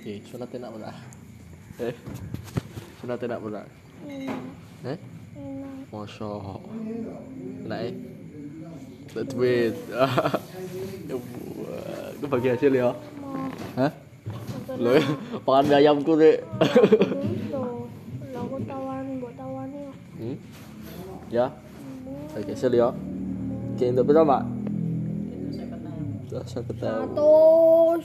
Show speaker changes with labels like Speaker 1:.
Speaker 1: Okay, so natin na wala. Eh. So natin na wala. Eh? Masya. Wala eh. Let's wait. Itu bagi hasil ya.
Speaker 2: Mau
Speaker 1: Hah?
Speaker 2: Ito
Speaker 1: Lo, makan mie ayam ku deh.
Speaker 2: dito. Wala ko tawaran, buat tawaran yun.
Speaker 1: hmm? Ya,
Speaker 2: Ano?
Speaker 1: bagi hasil ya. Oke, untuk berapa?
Speaker 3: Itu saya kenal.
Speaker 1: Dạ, Saya ketahui.
Speaker 2: Satos!